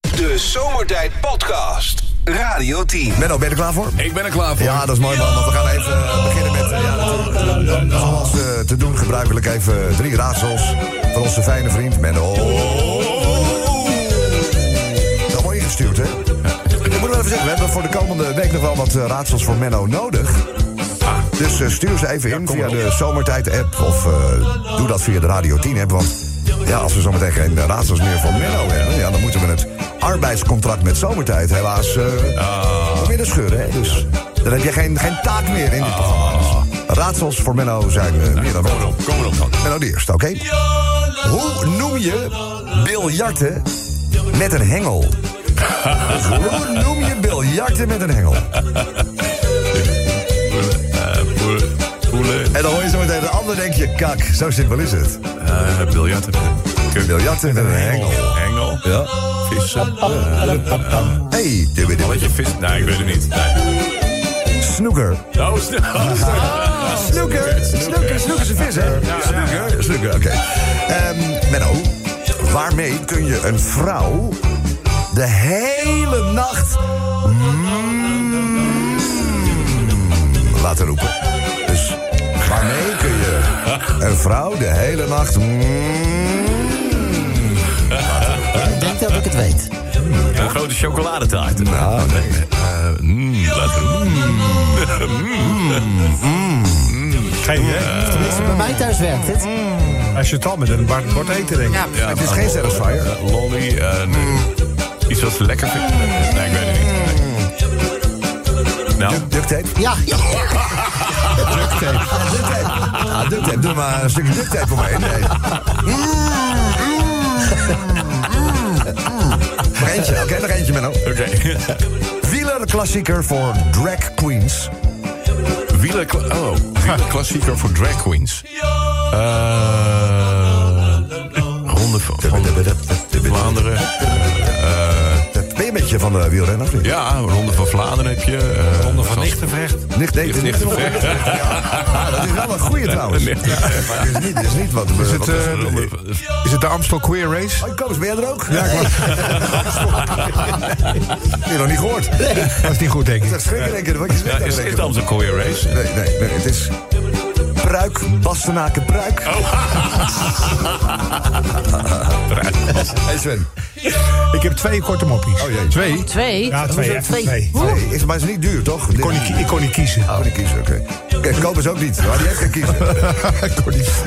De Zomertijd Podcast. Radio 10. Menno, ben je er klaar voor? Ik ben er klaar voor. Ja, dat is mooi man, want we gaan even eh, beginnen met... eh, ja, natuurlijk, eh, zoals eh, te doen gebruikelijk even drie raadsels van onze fijne vriend Menno. Dat mooi ingestuurd, hè? Ik moet wel even zeggen, we hebben voor de komende week nog wel wat eh, raadsels voor Menno nodig. Dus eh, stuur ze even in via de Zomertijd-app of eh, doe dat via de Radio 10-app. Want ja, als we zometeen geen raadsels meer van Menno hebben... Ja, dan moeten we het arbeidscontract met Zomertijd helaas eh weer de scheuren. Hè? Dus dan heb je geen, geen taak meer in dit programma. Dus raadsels voor Menno zijn eh, meer dan Ah. Kom welkom. erop, kom erop dan. Menno de Eerste, oké? Hoe noem je biljarten met een hengel? Dus hoe noem je biljarten met een hengel? Poelen, eh, poelen, poelen. En dan hoor je zo meteen de ander denk je, kak, zo simpel is het. Eh, biljarten. Kuk- Biljarten met een hengel. Hengel. Ja. Vissen. Hey, dit Wat je vis... Nee, ik weet het niet. Nee. Snoeker. Oh, snel. Snoeker, snoeker, snoeker is een vis, hè? Snoeker, snoeker, oké. Ehm, Menno, waarmee kun je een vrouw de hele nacht mm, laten roepen? Dus waarmee kun je een vrouw de hele nacht mm, Ik denk dat ik het weet. Een grote chocoladetaart. Nou, nee. Eh, mm, laten we- Mm, Geen idee. Tenminste, bij mij thuis werkt het. Als je het al met een bord, bord eten denkt. Ja, Ja, Eh. Het is maar- geen Mm. satisfier. Eh, Lolly. eh, nee. Iets wat ze lekker vinden. Nee, ik weet het niet. Mm. Nee. Nou, Duct tape? ja. Duct tape. Ah, duct tape. Ah, duct tape. Doe maar een stukje duct tape omheen. Nee. Nog eentje, oké, nog eentje, Menno. oké. Wielerklassieker voor drag queens. Wieler... Oh, wielerklassieker voor drag queens. Eh, Ronde van Vlaanderen. Ben je een beetje van eh, de wielrenner? of niet? Ja, Ronde van Vlaanderen heb je. eh, Ronde van zoals- Nichtenvecht. Nicht, nee, Nicht- Nichtenvecht. Ja, dat is wel een goeie trouwens. Maar dit is niet, dit is niet wat... Is het, eh, Is het de Amstel Queer Race? Oh, Koos, ben jij er ook? Ja, ik Heb je nog niet gehoord? Dat is niet goed, denk Dat ik. is schrikken, denk ik. Wat je Ja, zegt, is denk dit ik. dan zo'n Koya race? Nee, nee, nee, het is... Pruik, Bastenaken, Pruik. Hey Sven. Ik heb twee korte moppies. Oh, jee. Twee? Twee? Ja, twee. Echt Twee. twee. Nee, is, maar het is niet duur, toch? Ik kon niet, ki- ik kon niet kiezen. Oh, die kiezen, oké. Kijk, Kobus ook niet. Maar die heeft geen kiezen.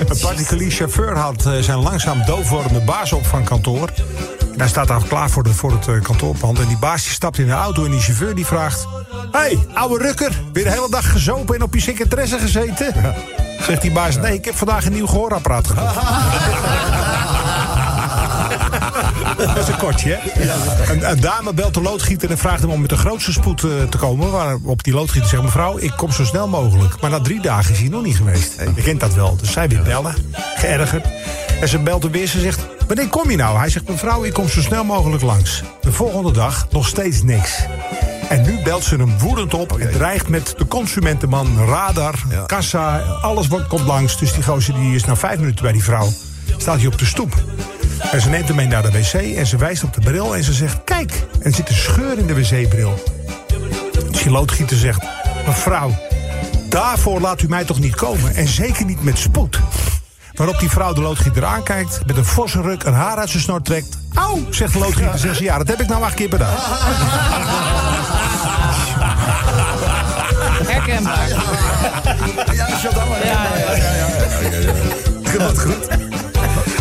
Een particulier chauffeur had eh, zijn langzaam doofwordende baas op van kantoor. En hij staat dan klaar voor, de, voor het eh, kantoorpand. En die baas die stapt in de auto en die chauffeur die vraagt... Hé, hey, ouwe rukker, weer de hele dag gezopen en op je secretaresse gezeten? Zegt die baas, nee, ik heb vandaag een nieuw gehoorapparaat gekocht. Dat is een kortje, hè? Een, een dame belt de loodgieter en vraagt hem om met de grootste spoed eh, te komen. Waarop die loodgieter zegt, mevrouw, ik kom zo snel mogelijk. Maar na drie dagen is hij nog niet geweest. Je kent dat wel. Dus zij weer bellen, geërgerd. En ze belt hem weer, ze zegt, wanneer kom je nou? Hij zegt, mevrouw, ik kom zo snel mogelijk langs. De volgende dag nog steeds niks. En nu belt ze hem woedend op en dreigt met de consumentenman, radar, Ja. kassa, alles wordt, komt langs. Dus die gozer die is na vijf minuten bij die vrouw, staat hij op de stoep. En ze neemt hem mee naar de wc en ze wijst op de bril en ze zegt, kijk, er zit een scheur in de wc-bril. Dus die loodgieter zegt, mevrouw, daarvoor laat u mij toch niet komen en zeker niet met spoed. Waarop die vrouw de loodgieter aankijkt, met een forse ruk een haar uit zijn snor trekt. Auw, zegt de loodgieter, zegt ze, ja, dat heb ik nou acht keer per dag. Herkenbaar. Ja, dat is wel allemaal. Ja, ja, ja. ja, ja, ja, ja. Goed, goed.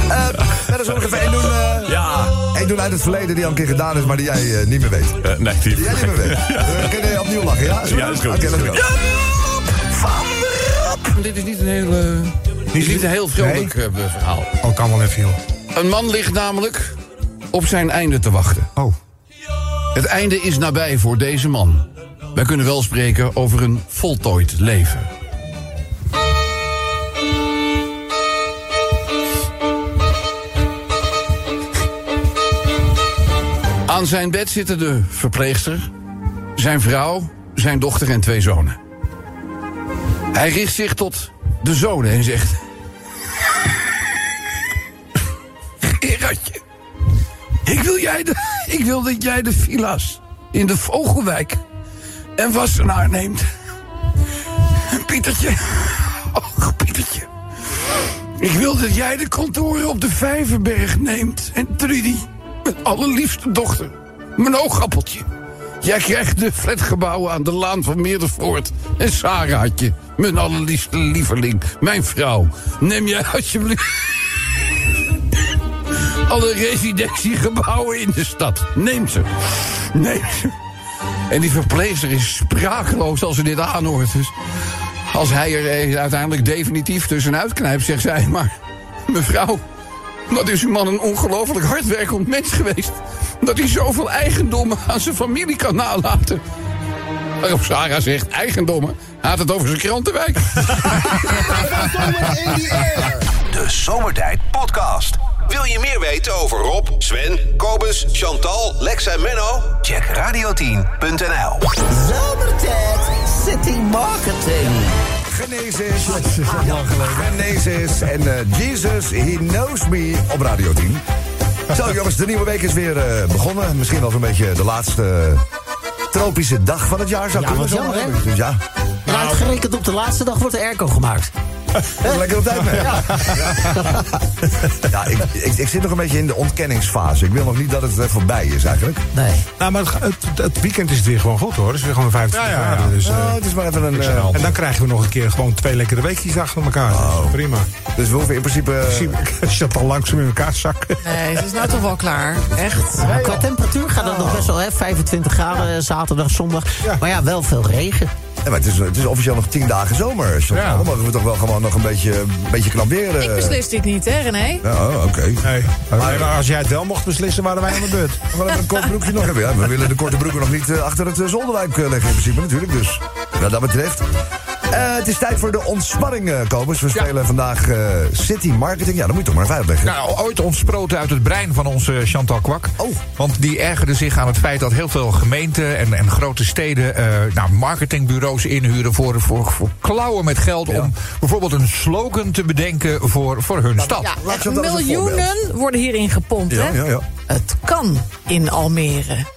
Eh, Laten we zo nog even één doen, eh, Ja. één doen uit het verleden die al een keer gedaan is, maar die jij eh, niet meer weet. Eh, nee, die... Die jij niet meer weet. Eh, Kun je opnieuw lachen, ja? Zullen we Ja, dat is doen? goed, Oké, dat is let's go. Dit is niet een heel, eh, dit is niet een heel vrolijk eh, verhaal. Oh, kan wel even, joh. Een man ligt namelijk op zijn einde te wachten. Oh. Het einde is nabij voor deze man. Wij kunnen wel spreken over een voltooid leven. Aan zijn bed zitten de verpleegster, zijn vrouw, zijn dochter en twee zonen. Hij richt zich tot de zonen en zegt... Gerardje, Ik wil, jij de, ik wil dat jij de villa's in de Vogelwijk en Wassenaar neemt. Pietertje. Och, Pietertje. Ik wil dat jij de kantoren op de Vijverberg neemt. En Trudy, mijn allerliefste dochter, mijn oogappeltje. Jij krijgt de flatgebouwen aan de Laan van Meerdervoort. En Sarahje, mijn allerliefste lieveling, mijn vrouw. Neem jij alsjeblieft alle residentiegebouwen in de stad. Neem ze. Neem ze. En die verpleegster is sprakeloos als ze dit aanhoort. Dus als hij er eh, uiteindelijk definitief tussenuit knijpt, zegt zij maar... Mevrouw, dat is uw man een ongelooflijk hardwerkend mens geweest. Dat hij zoveel eigendommen aan zijn familie kan nalaten. Waarop Sarah zegt, eigendommen? Hij had het over zijn krantenwijk. De Zomertijd Podcast. Wil je meer weten over Rob, Sven, Kobus, Chantal, Lex en Menno? Check radio10.nl. Zomertijd City Marketing. Genesis. Genesis en eh, Jesus, He Knows Me op Radio 10. Zo jongens, de nieuwe week is weer eh, begonnen. Misschien wel een beetje de laatste tropische dag van het jaar zou Ja, kunnen. wat zo, jammer, hè? Dus ja, En Nou. uitgerekend op de laatste dag wordt de airco gemaakt. dat is lekker op tijd mee. Ja, ik, ik, ik zit nog een beetje in de ontkenningsfase. Ik wil nog niet dat het eh, voorbij is eigenlijk. Nee. Nou, maar het, ga- het, het weekend is het weer gewoon goed hoor. Het is weer gewoon 25 Ja, ja, ja. graden. Dus, eh, Nou, het is maar even een... eh, en dan krijgen we nog een keer gewoon twee lekkere weekjes achter elkaar. Oh. Prima. dus we hoeven in principe... eh, Zie je dat al langzaam in elkaar zakken. Nee, ze is nou toch wel klaar. Echt. Maar qua temperatuur gaat het nog best wel, hè? 25 graden eh, zaterdag, zondag. Maar ja, wel veel regen. ja, maar het, is, het is officieel nog tien dagen zomer. Chantal. Ja. Dan mogen we toch wel gewoon nog een beetje, een beetje knap weer... eh, Ik beslis dit niet, hè, René? Ja, oh, oké. Nee. Maar als jij het wel mocht beslissen, waren wij aan de beurt. We willen een kort broekje nog hebben. Ja, we willen de korte broeken nog niet eh, achter het eh, zolderwijk eh, leggen in principe natuurlijk. Dus wat dat betreft. eh, het is tijd voor de ontspanning, eh Kobus. We spelen vandaag eh, City Marketing. Ja, dat moet je toch maar even uitleggen. Nou, ooit ontsproten uit het brein van onze Chantal Kwak. Oh. Want die ergerde zich aan Nou, het feit dat heel veel gemeenten en, en grote steden eh, nou, marketingbureaus inhuren voor, voor, voor klauwen met geld. Om bijvoorbeeld een slogan te bedenken voor, voor hun stad. Ja, laat echt ze dat als een miljoenen worden hierin gepompt, ja, hè? ja, ja. Het kan in Almere.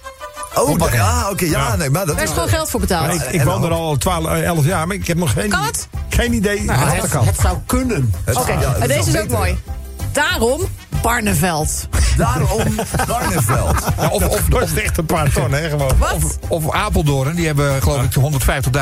Oh, da- ja, oké. ja, nee, maar dat Daar is is... gewoon geld voor betaald. Ik, ik woon er al 12, eh, 11 jaar, maar ik heb nog geen, Kan het? geen idee. Nou, dat het, kan. het zou kunnen. het- Oké, ja, maar dat deze is wel ook beter, mooi. ja. Daarom Barneveld. Daarom Barneveld. Ja, Ah, of, of, Dat is echt een paar ton, hè, gewoon. Wat? of Apeldoorn, die hebben geloof ik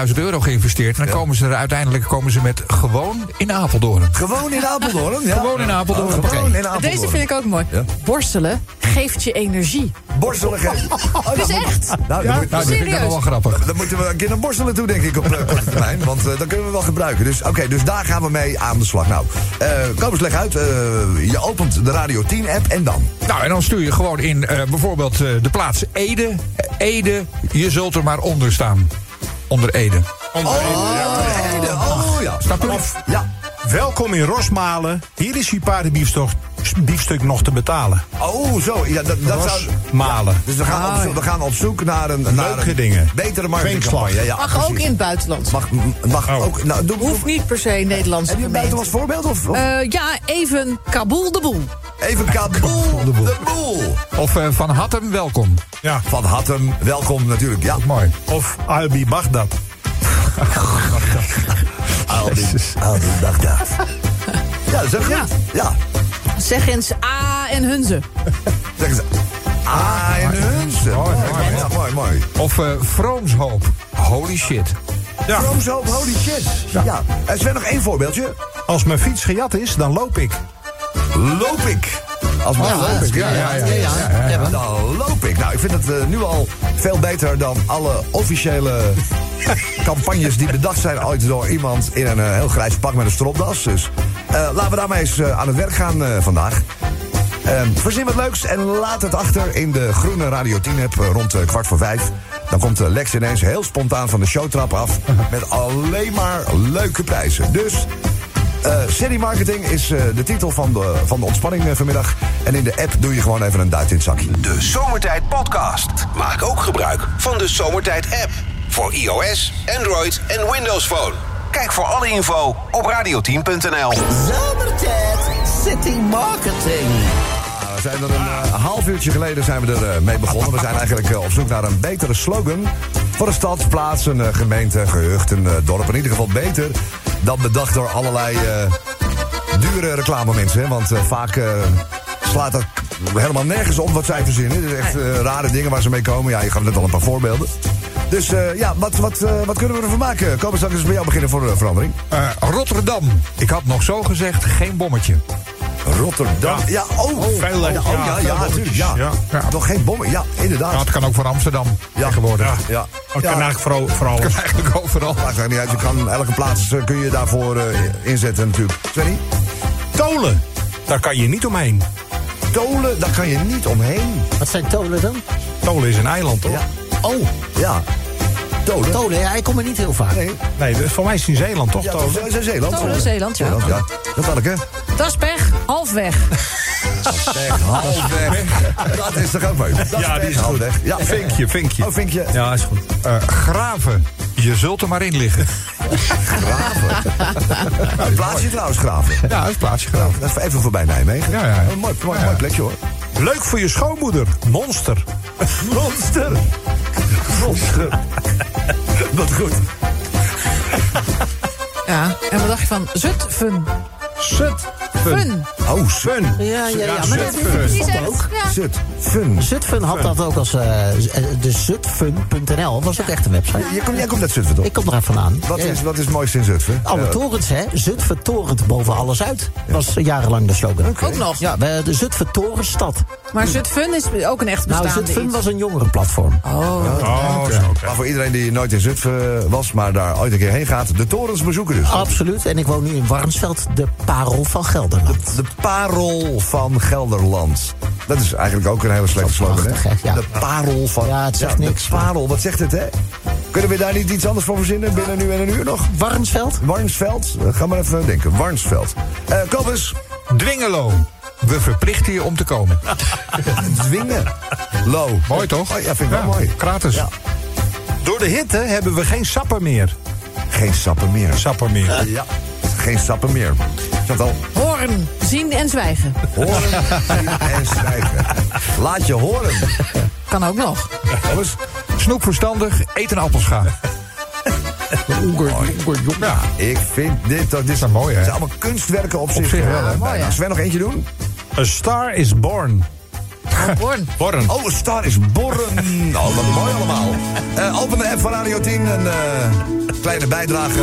150.000 euro geïnvesteerd. En dan komen ze er uiteindelijk komen ze met gewoon in Apeldoorn. Gewoon in Apeldoorn. Ja. Gewoon in Apeldoorn. Oh, gewoon in Apeldoorn. Deze vind ik ook mooi. Ja. Borstelen geeft je energie. Borstelen geven. Oh, dat Dus moet- echt. Nou, dan moet- Nou, dat vind ik dan wel Serieus? grappig. Dan moeten we een keer naar borstelen toe, denk ik, op eh, korte termijn. Want eh, dat kunnen we wel gebruiken. Dus oké, dus daar gaan we mee aan de slag. Nou, eh Kobus, leg uit. eh, je opent de Radio 10-app en dan? Nou, en dan stuur je gewoon in eh, bijvoorbeeld eh, de plaats Ede. Eh, Ede, je zult er maar onder staan. Onder Ede. Oh, de- oh ja. Snap je? Ja. Welkom in Rosmalen. Hier is je paardenbiefstuk biefstuk nog te betalen. Oh, zo. Ja, dat, dat zou... Rosmalen. Dus we gaan, Ah, op, zoek- we gaan op zoek naar een, naar Leuke een dingen. betere Kwinkslag. marketingcampagne. Ja, ja, Mag ook precies. in het buitenland. Mag, mag Oh. ook... Nou, doe, Hoeft niet per se Nederlandse heb je een gemeente. buitenlands voorbeeld? Of, of? Eh, ja, even Kabul de boel. Eh, Even kaboel de de boel. boel. Of eh, van Hattem, welkom. Ja. Van Hattem, welkom natuurlijk. Ja, Mooi. Of Albi Bagdad. Aldi. Aldi Bagdad. Ja, dat is ook goed. ja. Zeg eens A en Hunze. Zeggen ze. Ah, en Hunsen. Mooi, mooi, ja, mooi, mooi. Of eh, Vroomshoop. Holy shit. Ja. Vroomshoop, holy shit. Ja. Er Sven, nog één voorbeeldje. Als mijn fiets gejat is, dan loop ik. Loop ik. Als man loop ik. Ja, ja, ja. Dan loop ik. Nou, ik vind het eh, nu al veel beter dan alle officiële campagnes die bedacht zijn ooit door iemand in een eh, heel grijs pak met een stropdas. Dus eh, laten we daarmee eens eh, aan het werk gaan eh, vandaag. Eh, verzin wat leuks en laat het achter in de groene Radio 10 app eh, rond eh, kwart voor vijf. Dan komt eh, Lex ineens heel spontaan van de showtrap af met alleen maar leuke prijzen. Dus eh, City Marketing is eh, de titel van de, van de ontspanning eh, vanmiddag. En in de app doe je gewoon even een duit in het zakje. De Zomertijd Podcast. Maak ook gebruik van de Zomertijd app. Voor iOS, Android en Windows Phone. Kijk voor alle info op radio10.nl. Zomertijd City Marketing. Ah, we zijn er een eh, half uurtje geleden zijn we er eh, mee begonnen. We zijn eigenlijk eh, op zoek naar een betere slogan voor een stad, plaats, een eh, gemeente, gehucht, een eh, dorp. In ieder geval beter dan bedacht door allerlei eh, dure reclamemensen. Hè? Want eh, vaak eh, slaat dat helemaal nergens op wat zij verzinnen. Het is echt eh, rare dingen waar ze mee komen. Ja, je gaf net al een paar voorbeelden. Dus eh, ja, wat, wat, eh, wat kunnen we ervan maken? Komen straks eens bij jou beginnen voor eh, verandering. Eh, Rotterdam. Ik had nog zo gezegd, geen bommetje. Rotterdam. Ja, oh, veel ja, lekker. oh, ja, Ja, ja, natuurlijk. Ja. ja. Ja. Nog geen bommen. Ja, inderdaad. Nou, het kan ook voor Amsterdam tegenwoordig. Ja. Oh, Ja. Dat kan Ja. eigenlijk vooral, vooral Het kan eigenlijk overal. Maakt eigenlijk niet uit. Je kan elke plaats eh, kun je daarvoor eh, inzetten natuurlijk. Twenny? tolen. Daar kan je niet omheen. Tolen, daar kan je niet omheen. Wat zijn tolen dan? Tolen is een eiland, toch? Ja. Oh, Ja. Tolen. tolen. Ja, ik kom er niet heel vaak. Nee. Nee, dat- voor mij is het in Zeeland, toch? Ja, tolen? toch, dat is Zeeland. Tolen, Zeeland, ja. ja. Dat had ik, hè? Dat is pech, halfweg. Halfweg. Dat is toch ook mooi. Dat Ja, die is echt goed. halfweg. Ja. Vinkje, vinkje. Oh, vinkje. Ja, is goed. Eh, graven. Je zult er maar in liggen. Een plaatsje trouwens, graven. Ja, dat is plaatsje graven. Even voorbij Nijmegen. Ja, ja. Een mooi, mooi, Ja. mooi plekje, hoor. Leuk voor je schoonmoeder. Monster. Monster. Monster. Wat goed. Ja. En wat dacht je van Zutphen? Zut. Fun. Oh, fun. Ja, ja, ja. Maar dat Die is zegt, ook. ja. Zut. Fun. Zutphen had dat ook als eh, z- eh, de zutphen.nl. was ook echt een website. Je komt, jij komt uit Zutphen, toch? Ik kom er even vandaan. Wat Ja, ja. is, wat is het mooiste in Zutphen? Alle Eh, torens, hè? Zutphen torent boven alles uit. Was jarenlang de slogan. Ook nog. Ja, we- de Zutphen torenstad. Maar Zutphen is ook een echt Nou, bestaande Zutphen iets. was een jongerenplatform. Oh, Oh, zo. maar voor iedereen die nooit in Zutphen eh, was, maar daar ooit een keer heen gaat, de torens bezoeken Oh. dus. Absoluut. En ik woon nu in Warnsveld, de parel van Gelderland. De parel van Gelderland. Dat is eigenlijk ook een hele slechte Dat is slogan, hè? prachtig, hè? Ja. De parel van... Ja, het zegt de niks. parel, wat zegt het, hè? Kunnen we daar niet iets anders voor verzinnen binnen nu en een uur nog? Warnsveld? Warnsveld? Eh, Ga maar even denken. Warnsveld. Eh Kobus, Dwingelo. We verplichten je om te komen. dwingen. Lo. Mooi toch? Oh, ja, vind ik wel mooi. Gratis. Ja. Door de hitte hebben we geen sappen meer. Geen sappen meer. Sappen meer. Eh, Ja, geen sappen meer. Chantal. horen, zien en zwijgen. Horen zien en zwijgen. Laat je horen. Kan ook nog. Jongens, Snoep verstandig, eet een appelscha. Ja, ik vind dit... Dat, dit is mooi, hè? Het zijn allemaal kunstwerken op zich. zich wel, hè? Eh, Mooi, hè? Zullen we nog eentje doen? A star is born. Hoorn. Born. Oh, een star is borren. Oh, wat mooi allemaal. Eh, open de app van Radio 10. Een eh, kleine bijdrage.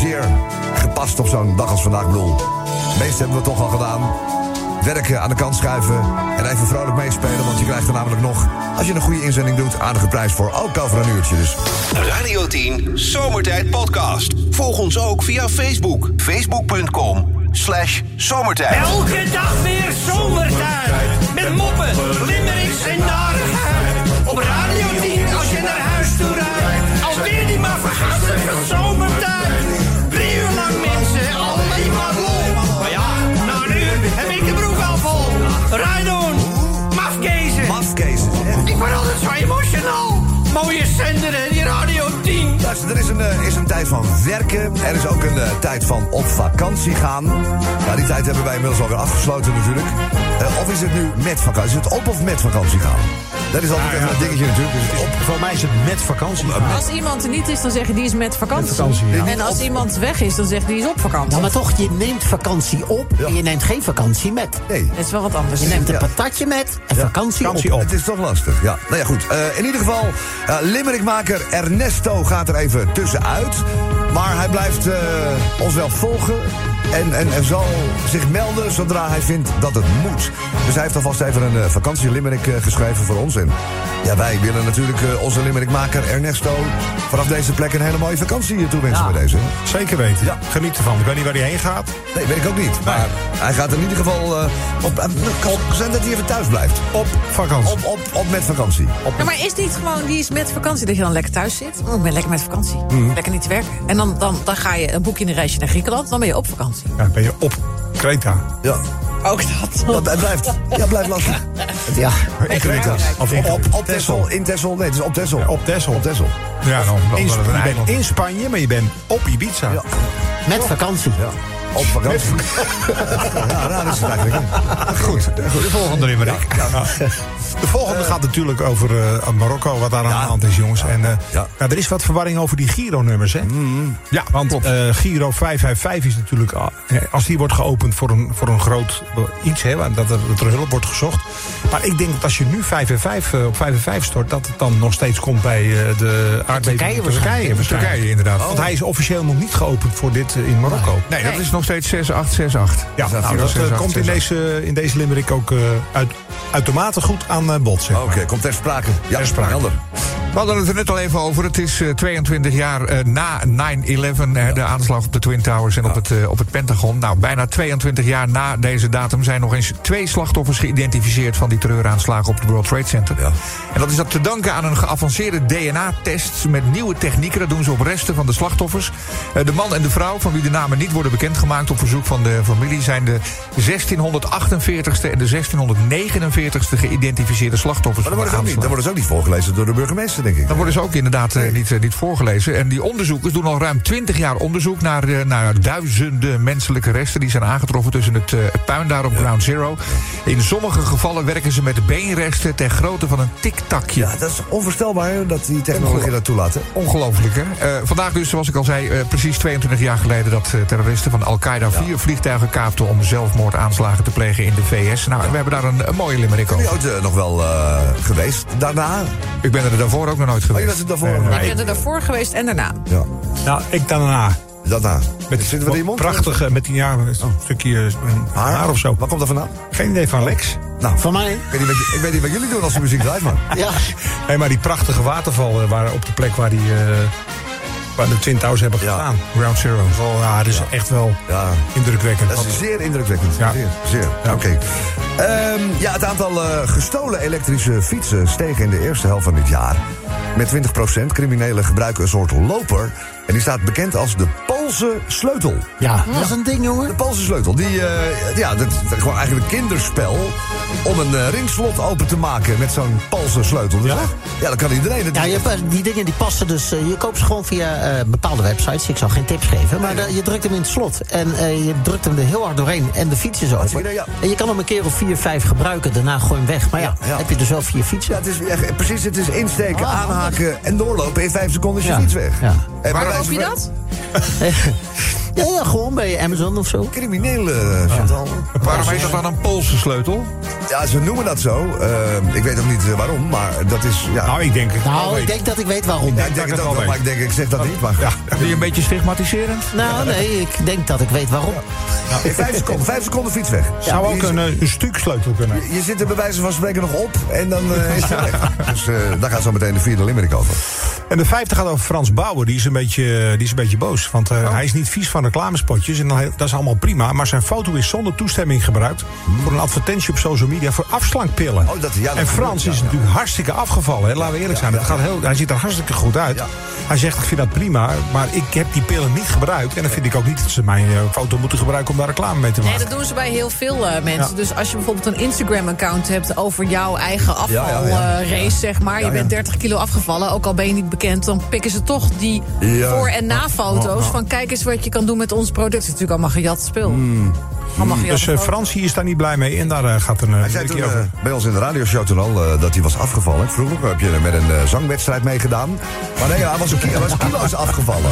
Zeer gepast op zo'n dag als vandaag. Ik bedoel, het meeste hebben we toch al gedaan. Werken aan de kant schuiven en even vrolijk meespelen. Want je krijgt er namelijk nog, als je een goede inzending doet... aardige prijs voor ook over een uurtje. Dus Radio 10 Zomertijd Podcast. Volg ons ook via Facebook. Facebook.com slash zomertijd. Elke dag weer zomertijd. Met moppen, limmerings en narigheid. Op Radio 10 als je naar huis toe rijdt. Alweer die maar vergastige zomertijd. Drie uur lang mensen, alleen maar lol. Maar ja, na een uur heb ik de broek al vol. Rijdon, mafkezen. afkezen. Ik word altijd zo emotional. Mooie zender en die Radio 10. Luister, er is een, eh, is een tijd van werken. Er is ook een eh, tijd van op vakantie gaan. Ja, die tijd hebben wij inmiddels alweer afgesloten natuurlijk. Eh, of is het nu met vakantie? Is het op of met vakantie gaan? Dat is altijd even een dingetje natuurlijk. Is het op? Voor mij is het met vakantie. Als iemand er niet is, dan zeg je die is met vakantie. Met vakantie, ja. En als iemand weg is, dan zeg je die is op vakantie. Nou, maar toch, je neemt vakantie op Ja. en je neemt geen vakantie met. Nee. Dat is wel wat anders. Je neemt een Ja. patatje met en vakantie op. Vakantie op. Het is toch lastig, ja. Nou ja, goed. Eh, in ieder geval, eh limmerikmaker Ernesto gaat er even tussenuit. Maar hij blijft eh, ons wel volgen. En, en, en zal zich melden zodra hij vindt dat het moet. Dus hij heeft alvast even een eh, vakantielimerick eh, geschreven voor ons. En ja, wij willen natuurlijk eh, onze limmerikmaker Ernesto... vanaf deze plek een hele mooie vakantie eh, toewensen Ja. bij deze. Zeker weten. Ja. Geniet ervan. Ik weet niet waar hij heen gaat. Nee, weet ik ook niet. Maar hij gaat in ieder geval... eh op, eh, kan zijn dat hij even thuis blijft. Op vakantie. Op, op, op met vakantie. Ja, maar is niet gewoon die is met vakantie dat je dan lekker thuis zit? Oh, ik ben lekker met vakantie. Mhm. Lekker niet te werken. En dan, dan, dan ga je een boekje in een reisje naar Griekenland. Dan ben je op vakantie. Ja, ben je op Kreta. Ja. Ook dat. Dat, het blijft, ja, blijft lastig. Ja. In Kreta. Of In- op, op Texel. In Texel. Nee, het is op Texel. Ja, op Texel. Op Texel. Ja, dan, dan, In- dan- dan- je bent in Spanje, maar je bent op Ibiza. Ja. Met vakantie. Ja. Op vakantie. ja, raar is het eigenlijk. Goed, de volgende nummer. nou. De volgende gaat natuurlijk over eh, Marokko, wat daar aan de hand is, jongens. En eh, Ja. Mm, nou, er is wat verwarring over die Giro-nummers, hè? Ja, want eh, Giro 555 is natuurlijk... al- eh, Als die wordt geopend voor een, voor een groot eh, iets, hè, waar- dat er, dat er hulp wordt gezocht. Maar ik denk dat als je nu 5 en 5 eh, op 5 en 5 stort... dat het dan nog steeds komt bij eh, de aardbeving Turkije in Turkije. Turkije, inderdaad. Oh. Want hij is officieel nog niet geopend voor dit eh, in Marokko. Nee, dat is nog steeds 6868. Ja, dat, nou, dat eh, komt in deze, in deze limerick ook eh, uit, uitermate goed aan eh, bod, zeg Oké, komt ter sprake. Ja, Ter sprake. Helder. We hadden het er net al even over. Het is eh, 22 jaar eh, na 9-11, eh, de aanslag op de Twin Towers en op, het, eh, op het Pentagon. Nou, bijna 22 jaar na deze datum zijn nog eens twee slachtoffers geïdentificeerd van die terreuraanslagen op het World Trade Center. En dat is dat te danken aan een geavanceerde DNA-test met nieuwe technieken. Dat doen ze op resten van de slachtoffers. Eh, de man en de vrouw, van wie de namen niet worden bekendgemaakt op verzoek van de familie, zijn de 1648ste en de 1649ste geïdentificeerde slachtoffers. Oh, Maar dan worden, ze ook niet, van de aanslag. dan worden ze ook niet voorgelezen door de burgemeester, denk ik. Dan worden ze ook inderdaad eh, niet, eh, niet voorgelezen. En die onderzoekers doen al ruim 20 jaar onderzoek naar, eh, naar duizenden menselijke resten. Die zijn aangetroffen tussen het, eh, het puin daar op Ground Zero. In sommige gevallen werken ze met beenresten ter grootte van een tiktakje. Ja, dat is onvoorstelbaar hè, dat die technologie dat toelaat. hè. Ongelooflijk, hè? Eh, vandaag dus, zoals ik al zei, eh, precies 22 jaar geleden... dat eh, terroristen van Al-Qaeda vier vliegtuigen kaapten... om zelfmoordaanslagen te plegen in de VS. Nou, en we hebben daar een, een mooie limerick Ben je over. ooit eh, nog wel eh, geweest daarna? Ik ben er daarvoor ook nog nooit Oh, je geweest. was het daarvoor? nog? Ik ben er daarvoor geweest en daarna. Ja, Nou, ik daarna. daarna. Met Zitten we er in je mond? Oh. Prachtige, met die ja, een stukje eh, haar. Haar? of zo. Waar komt dat vandaan? Geen idee van Lex. Nou, Van mij? ik weet, niet wat, ik weet niet wat jullie doen als de muziek draait, man. Ja. Hey, maar die prachtige waterval eh, waar, op de plek waar, die, eh, waar de Twin Towers hebben Ja. gestaan. Ground Zero. Dat is wel- ja, dat is echt wel Ja. indrukwekkend. Dat is Want- zeer indrukwekkend. Ja. Zeer, zeer. Oké. Ehm, ja, het aantal eh, gestolen elektrische fietsen steeg in de eerste helft van dit jaar. Met 20% criminelen gebruiken een soort loper. En die staat bekend als de Poolse sleutel. ja, dat is een ding, De jongen. Poolse sleutel, die, eh, ja, dat, dat is gewoon eigenlijk een kinderspel... om een eh, ringslot open te maken met zo'n Poolse sleutel. Dus ja? ja, dat kan iedereen. Dat Ja, je hebt, eh, die dingen die passen dus. eh, je koopt ze gewoon via eh, bepaalde websites. Ik zal geen tips geven. Maar eh, je drukt hem in het slot. En eh, je drukt hem er heel hard doorheen. En de fiets is over. idee, ja. En je kan hem een keer of vier, vijf gebruiken. Daarna gooi hem weg. Maar ja, Ja, ja. heb je dus wel vier fietsen. Ja, het is echt, precies, het is insteken, Ah, handig. aanhaken en doorlopen. In vijf seconden is je Ja. fiets weg. Ja. En Waar bij koop je wijze van- dat? Ja, ja, gewoon bij Amazon of zo. Criminelen, eh, Chantal. Waarom heet dat dan een Poolse sleutel? Ja, ze noemen dat zo. Eh, ik weet ook niet eh, waarom, maar dat is... Ja, Nou, ik denk het. wel Nou, ik weten. denk dat ik weet waarom. ja, ik dat denk het wel ook Oh. wel, weet. maar ik denk, ik zeg dat niet. Maar, ja. Vind je een beetje stigmatiserend? Nou, nee, ik denk dat ik weet waarom. In vijf seconden, vijf seconden fiets weg. Zou ook je, een, eh, een stuksleutel kunnen. je zit er bij wijze van spreken nog op en dan eh, is het weg. Dus eh, daar gaat zo meteen de vierde limerick over. En de 50 gaat over Frans Bauer. Die is een beetje, eh, die is een beetje boos. Want Oh. eh, hij is niet vies van reclamespotjes. En dan he- dat is allemaal prima. Maar zijn foto is zonder toestemming gebruikt. Voor een advertentie op social media voor afslankpillen. Oh, dat- ja, dat en Frans gebeurt, ja, is ja. natuurlijk hartstikke afgevallen. Hè? Laten we eerlijk zijn. dat gaat heel, hij ziet er hartstikke goed uit. Ja. Hij zegt, ik vind dat prima. Maar ik heb die pillen niet gebruikt. En dan vind ik ook niet dat ze mijn eh, foto moeten gebruiken om daar reclame mee te maken. Nee, dat doen ze bij heel veel eh, mensen. Dus als je bijvoorbeeld een Instagram-account hebt over jouw eigen afvalrace, ja, zeg maar. Je ja. bent 30 kilo afgevallen, ook al ben je niet bekend. Dan pikken ze toch die Ja. voor- en na-foto's. Van kijk eens wat je kan doen met ons product. Het is natuurlijk allemaal gejat spul. Mhm. Allemaal gejat Dus eh, spul. Frans hier is daar niet blij mee. En daar eh, gaat een... Hij eh zei een toen keer over. eh, bij ons in de radioshow toen al eh, dat hij was afgevallen. Vroeger heb je er met een eh, zangwedstrijd meegedaan. Maar nee, hij was een, ki- hij was kilo's afgevallen.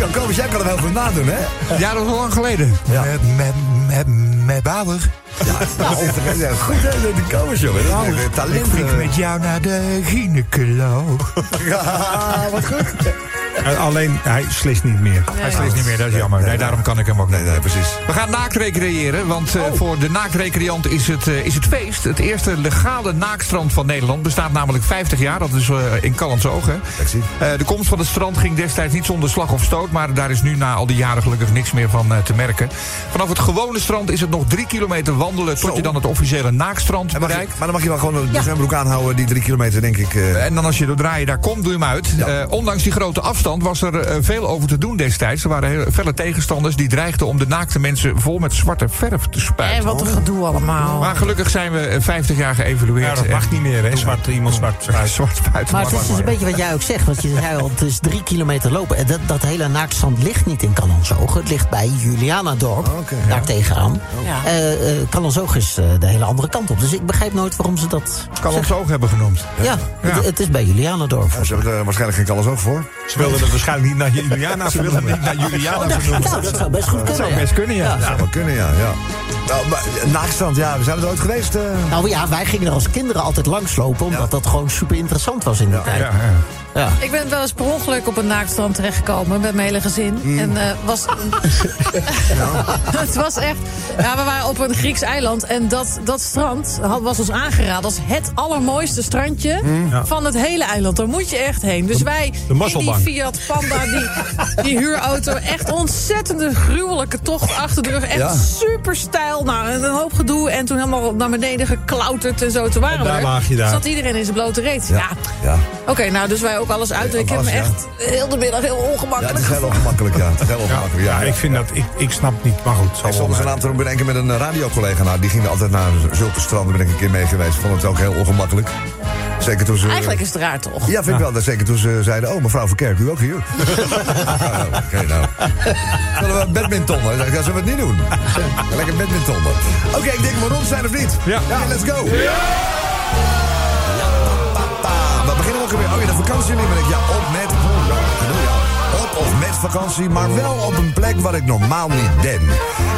Kom, Kobus, jij kan hem heel goed nadoen, hè? Ja, dat is al lang geleden. Ja. Met, met, met, met Bauer. Ja, dat is toch ja, goed, hè? Die Kobus, jongen. Dat is echt, eh, Ik talent. vlieg eh. met jou naar de gynaecoloog. Ja, wat goed. Eh, alleen, hij slist niet meer. Hij sleest niet meer, dat is jammer. Nee, daarom kan ik hem ook Nee, niet. nee, precies. We gaan naakrecreëren, want eh, voor de naakrecreant is het, eh, is het feest. Het eerste legale naakstrand van Nederland bestaat namelijk 50 jaar. Dat is eh, in Callantsoog, hè. Sexy. Eh, de komst van het strand ging destijds niet zonder slag of stoot... maar daar is nu na al die jaren gelukkig niks meer van eh, te merken. Vanaf het gewone strand is het nog drie kilometer wandelen... tot Zo. je dan het officiële naakstrand En mag je- bereikt. maar dan mag je wel gewoon een zwembroek aanhouden, die drie kilometer, denk ik. eh, En dan als je door draaien daar komt, doe je hem uit. Eh, ondanks die grote afstand opstand was er eh, veel over te doen destijds. Er waren heel, felle tegenstanders die dreigden om de naakte mensen vol met zwarte verf te En spuiten. wat een gedoe allemaal. Maar gelukkig zijn we eh, 50 jaar Ja, geëvalueerd. dat mag niet meer, hè? Zwart, iemand zwart uit. fruit. Zwart spuiten Maar mag het is niet dus een meer. beetje wat jij ook zegt. Want je zei al, het is drie kilometer lopen. En dat, dat hele naaktstrand ligt niet in Callenzoogen. Het ligt bij Julianadorp, Oké, ja. daar tegenaan. Ja. Eh, eh, Callenzoogen is eh, de hele andere kant op. Dus ik begrijp nooit waarom ze dat... Kan ons oog hebben genoemd. Ja, Het, het is bij Julianadorp. Ze hebben er waarschijnlijk geen kallers ook voor. Ze wilden het waarschijnlijk niet naar Juliana Ze wilden niet naar Juliana vernoemen. Nou, dat zou best goed kunnen. ja. kunnen, ja. Dat zou wel kunnen, ja. ja. Nou, maar Naakstand, ja, we zijn er ooit geweest. eh. Nou ja, wij gingen er als kinderen altijd langslopen. Omdat dat gewoon super interessant was in de tijd. Ja, ja. Ja. Ik ben wel eens per ongeluk op een naaktstrand terechtgekomen met mijn hele gezin. Hmm. En eh, was. het was echt. Ja, we waren op een Grieks eiland. En dat, dat strand had, was ons aangeraden als het allermooiste strandje Hmm. van het hele eiland. Daar moet je echt heen. Dus wij in die mazzelbank. Fiat Panda, die, die huurauto. Echt ontzettende gruwelijke tocht achter de rug. Echt super stijl. Nou, en een hoop gedoe. En toen helemaal naar beneden geklauterd en zo. Toen waren En daar we lag je daar. Zat iedereen in zijn blote reet. ja. Ja, Oké, nou, dus wij ook alles uit. ik heb alles, me ja. echt heel de middag heel ja ongemakkelijk het is heel gevoeld. ongemakkelijk, ja. Het is heel ongemakkelijk, ja. Ja, ik vind dat, ik, ik snap niet, maar goed. Ik Zal wel stond dus eens een maar. aantal bedenken met een radiocollega. Nou, die ging altijd naar zulke stranden. Ben ik een keer mee geweest. Vond het ook heel ongemakkelijk. Zeker toen ze. Eigenlijk is het raar, toch? Ja, vind ik wel. Dat Zeker toen ze zeiden: Oh, mevrouw Verkerk, u ook hier. Ja, Oké, nou. Zullen we badmintonnen? Ik zei, Zullen we het niet doen? Lekker badmintonnen. Oké, ik denk we rond zijn of niet? Ja. let's go. Ja! papa. We beginnen ook weer. Oh ja, de vakantie niet meer. Ja, op met. oh, ja, dat bedoel je. Op of met vakantie, maar wel op een plek waar ik normaal niet ben.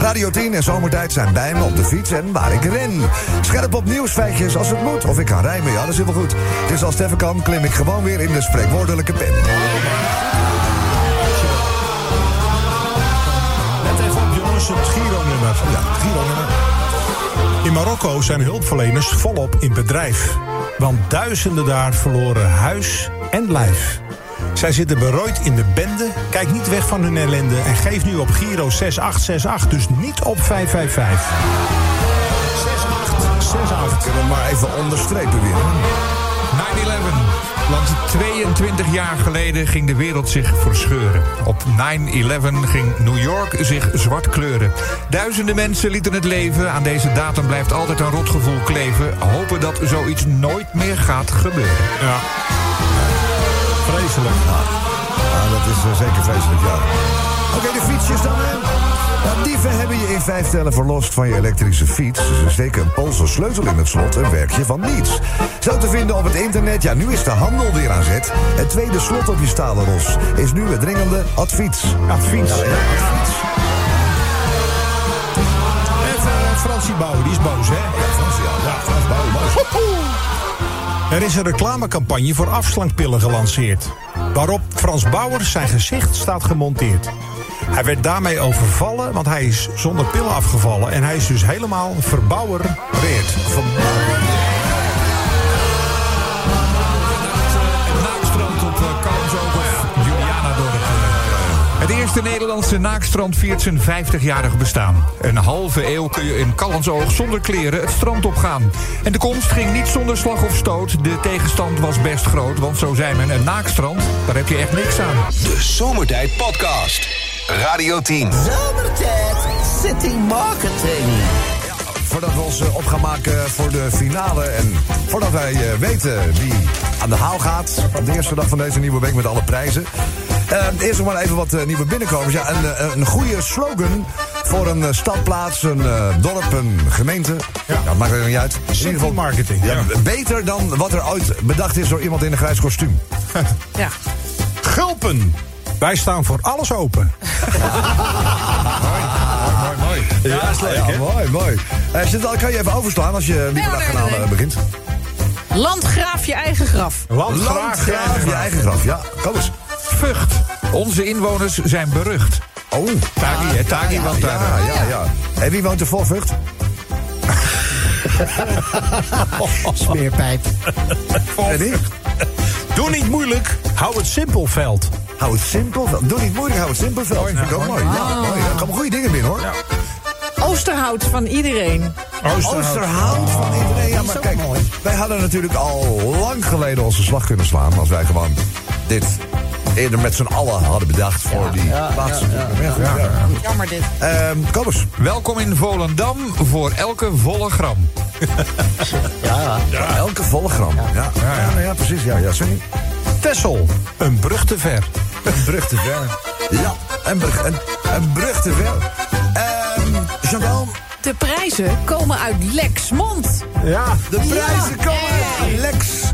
Radio 10 en zomertijd zijn bij me op de fiets en waar ik ren. Scherp op nieuwsfeitjes als het moet. Of ik kan rijmen, ja, dat is helemaal goed. Dus als het even kan, klim ik gewoon weer in de spreekwoordelijke pen. Let even op, jongens, het Giro-nummer. Ja, Giro-nummer. In Marokko zijn hulpverleners volop in bedrijf. Want duizenden daar verloren huis en lijf. Zij zitten berooid in de bende. Kijk niet weg van hun ellende. En geef nu op Giro 6868, dus niet op 555. 6868. Kunnen we maar even onderstrepen weer. 9-11. Want 22 jaar geleden ging de wereld zich verscheuren. Op 9-11 ging New York zich zwart kleuren. Duizenden mensen lieten het leven. Aan deze datum blijft altijd een rotgevoel kleven. Hopen dat zoiets nooit meer gaat gebeuren. Ja. Vreselijk. Ja, dat is eh, zeker vreselijk, ja. Oké, de fietsjes dan, hè? Ja, dieven hebben je in vijf tellen verlost van je elektrische fiets. Ze steken een Poolse sleutel in het slot en werk je van niets. Zo te vinden op het internet, ja, nu is de handel weer aan zet. Het tweede slot op je stalen ros is nu het dringende advies. Advies. Ja, ja, advies. Even eh, Fransie Bouw, die is boos, hè? Ja, Frans, ja. Ja, Frans, bouw, bouw. Er is een reclamecampagne voor afslankpillen gelanceerd. Waarop Frans Bauer zijn gezicht staat gemonteerd. Hij werd daarmee overvallen, want hij is zonder pillen afgevallen. En hij is dus helemaal verbouwereerd. Naakstrand op eh, Kalmshoog of Julianadorp. eh, Het eerste Nederlandse naakstrand viert zijn 50-jarig bestaan. Een halve eeuw kun je in Callensoog zonder kleren het strand opgaan. En de komst ging niet zonder slag of stoot. De tegenstand was best groot, want zo zei men een naakstrand, daar heb je echt niks aan. De Zomertijd Podcast. Radio 10. Zomertijd City Marketing. Voordat we ons eh, op gaan maken voor de finale en voordat wij eh, weten wie aan de haal gaat op de eerste dag van deze nieuwe week met alle prijzen. Eh, eerst nog maar even wat eh, nieuwe binnenkomers. Ja, een, eh, een goede slogan voor een eh, stadplaats, een eh, dorp, een gemeente. Ja. dat maakt er niet uit. In ieder geval- marketing. Ja, Beter dan wat er ooit bedacht is door iemand in een grijs kostuum. Ja. Gulpen! Wij staan voor alles open. Mooi, mooi. Ja, is leuk, mooi, mooi. Eh Chantal, kan je even overslaan als je nee, Lieberdagganaal nee, nee. eh, begint? Landgraaf je eigen graf. Landgraaf, Landgraaf, je eigen graf, ja. Kom eens. Vught. Onze inwoners zijn berucht. Oh, Tagi, hè, Tagi, want daar... ja, ja, ja. En wie woont er vol Vught? Smeerpijp. En ik? Doe niet moeilijk, hou het simpel, veld. Hou het simpel. Veld. Doe niet moeilijk, hou het simpel. Veld. Vind ik ook mooi. Ja, mooi. Er komen goede dingen binnen, hoor. Oosterhout van iedereen. Oosterhout van iedereen. Ja, maar kijk, wij hadden natuurlijk al lang geleden onze slag kunnen slaan... als wij gewoon dit eerder met z'n allen hadden bedacht voor die laatste. Ja, ja. Jammer dit. Ehm, kom eens. Welkom in Volendam voor elke volle gram. Elke volle gram. Ja, ja, ja. ja, precies. Ja, ja, sorry. Tessel, een brug te ver. Een brug te ver. Ja, een brug, een, een brug te ver. Ehm Chantal, De prijzen komen uit Lexmond. Ja. de prijzen Ja. komen uit Lexmond.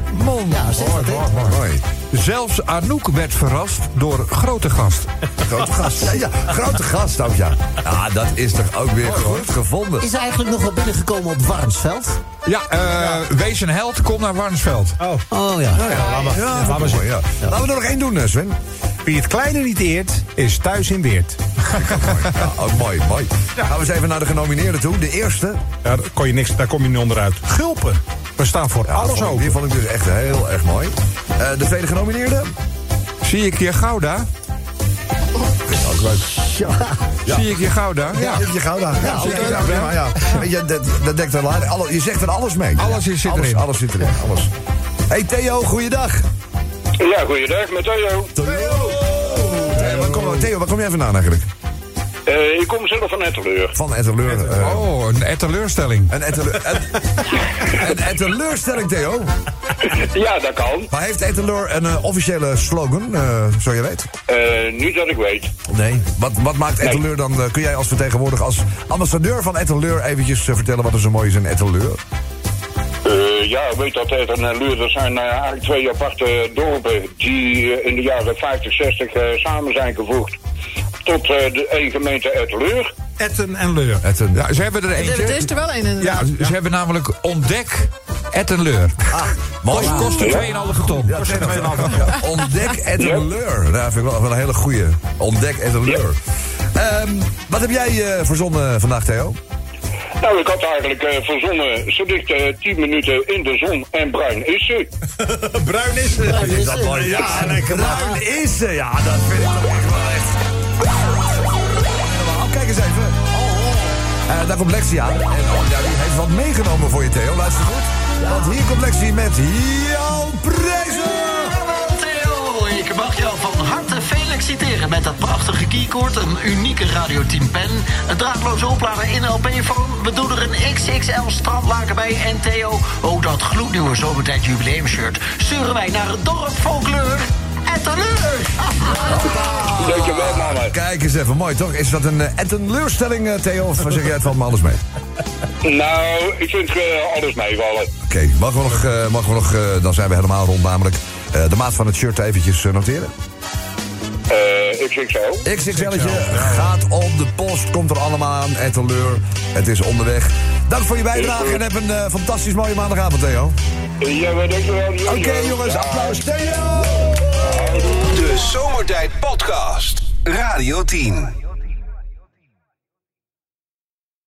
Ja, mooi, mooi, mooi, mooi. Zelfs Anouk werd verrast door grote gast. Grote gast. Ja, ja, grote gast ook, ja. Ja, dat is toch ook weer goed gevonden. Is eigenlijk nog wel binnengekomen op Warnsveld? Ja, eh, wees een held, kom naar Warnsveld. Oh ja. Nou ja, laat maar. Ja, laat maar mooi, ja. Laten we er nog één doen, eh, Sven. Wie het kleine niet eert, is thuis in Weert. Ja, ook mooi, mooi. Gaan we eens even naar de genomineerden toe. De eerste. Ja, daar, kon je niks, daar kom je niet onderuit. Gulpen. We staan voor alles vond ik- open. Die vond ik dus echt heel erg mooi. Eh, de tweede genomineerde. Zie ik je Gouda? Ook leuk. Ja. Zie ik je Gouda? Ja. Ja, je Gouda. Ja, ja, zeker. ja, prima, ja. Je, dat, dat dekt er, laat- alle- je zegt er alles mee. Alles is- zit alles, erin. Alles zit erin, alles. hey Theo, goeiedag. Ja, goeiedag, met Theo. Theo. Theo, waar kom, Theo, waar kom jij vandaan eigenlijk? Eh, ik kom zelf van Etteleur. Van Etteleur. eh, Oh, een eh, teleurstelling. Een Etteleur. Een, een Etteleur-stelling, Theo. Ja, dat kan. Maar heeft Etteleur een eh, officiële slogan, eh, zo je weet? Eh, nu dat ik weet. Nee. Wat, wat maakt Etteleur dan? eh, kun jij als vertegenwoordiger, als ambassadeur van Etteleur... eventjes eh, vertellen wat er zo mooi is in Etteleur? Eh, ja, weet dat het en Luur, dat zijn eh, eigenlijk twee aparte dorpen die eh, in de jaren 50, 60 eh, samen zijn gevoegd tot eh, de één gemeente Etteleur. Etten en Leur. Etten. Ja, ze hebben er Er eentje. is er wel een in Ja, ze hebben namelijk ontdek Ettenleur. Ah, mooi. Kost, kostte 2,5 ton. Ja, ja, ontdek Etteleur. Nou, dat vind ik wel, wel een hele goeie. Ontdek Etteleur. Ehm, wat heb jij eh, verzonnen vandaag, Theo? Nou, ik had eigenlijk eh, verzonnen, ze ligt eh, 10 minuten in de zon en bruin is ze. Bruin is het. Is dat mooi? Ja, bruin is ze. Ja, dat vind ik toch echt wel echt. Helemaal, Kijk eens even. Oh, oh. Eh, daar komt Lexi aan. En oh, ja, die heeft wat meegenomen voor je, Theo. Luister goed. Want hier komt Lexi met Jan Prijzen. Theo, ik mag jou van harte feliciteren met dat prachtige keycord, een unieke Radio 10 pen, een draadloze oplader in LP-phone. We doen er een XXL strandlaken bij en Theo, ook dat gloednieuwe zomertijd jubileumshirt sturen wij naar het dorp vol kleur. Ettenleur! Dankjewel, Ah, mama. Kijk eens even, mooi toch? Is dat een eh, Ettenleurstelling, eh, Theo? Of zeg jij het valt me alles mee? Nou, ik vind eh, alles meevallen. Oké, mogen we nog, eh, mogen we nog eh, dan zijn we helemaal rond namelijk. Eh, de maat van het shirt eventjes eh, noteren. Eh, ik zeg zo. XXL'tje gaat op de post, komt er allemaal aan. En teleur, het is onderweg. Dank voor je bijdrage en heb een eh, fantastisch mooie maandagavond, Theo. Ja, maar dankjewel. Oké, Oké jongens, applaus Theo! De Zomertijd Podcast. Radio 10.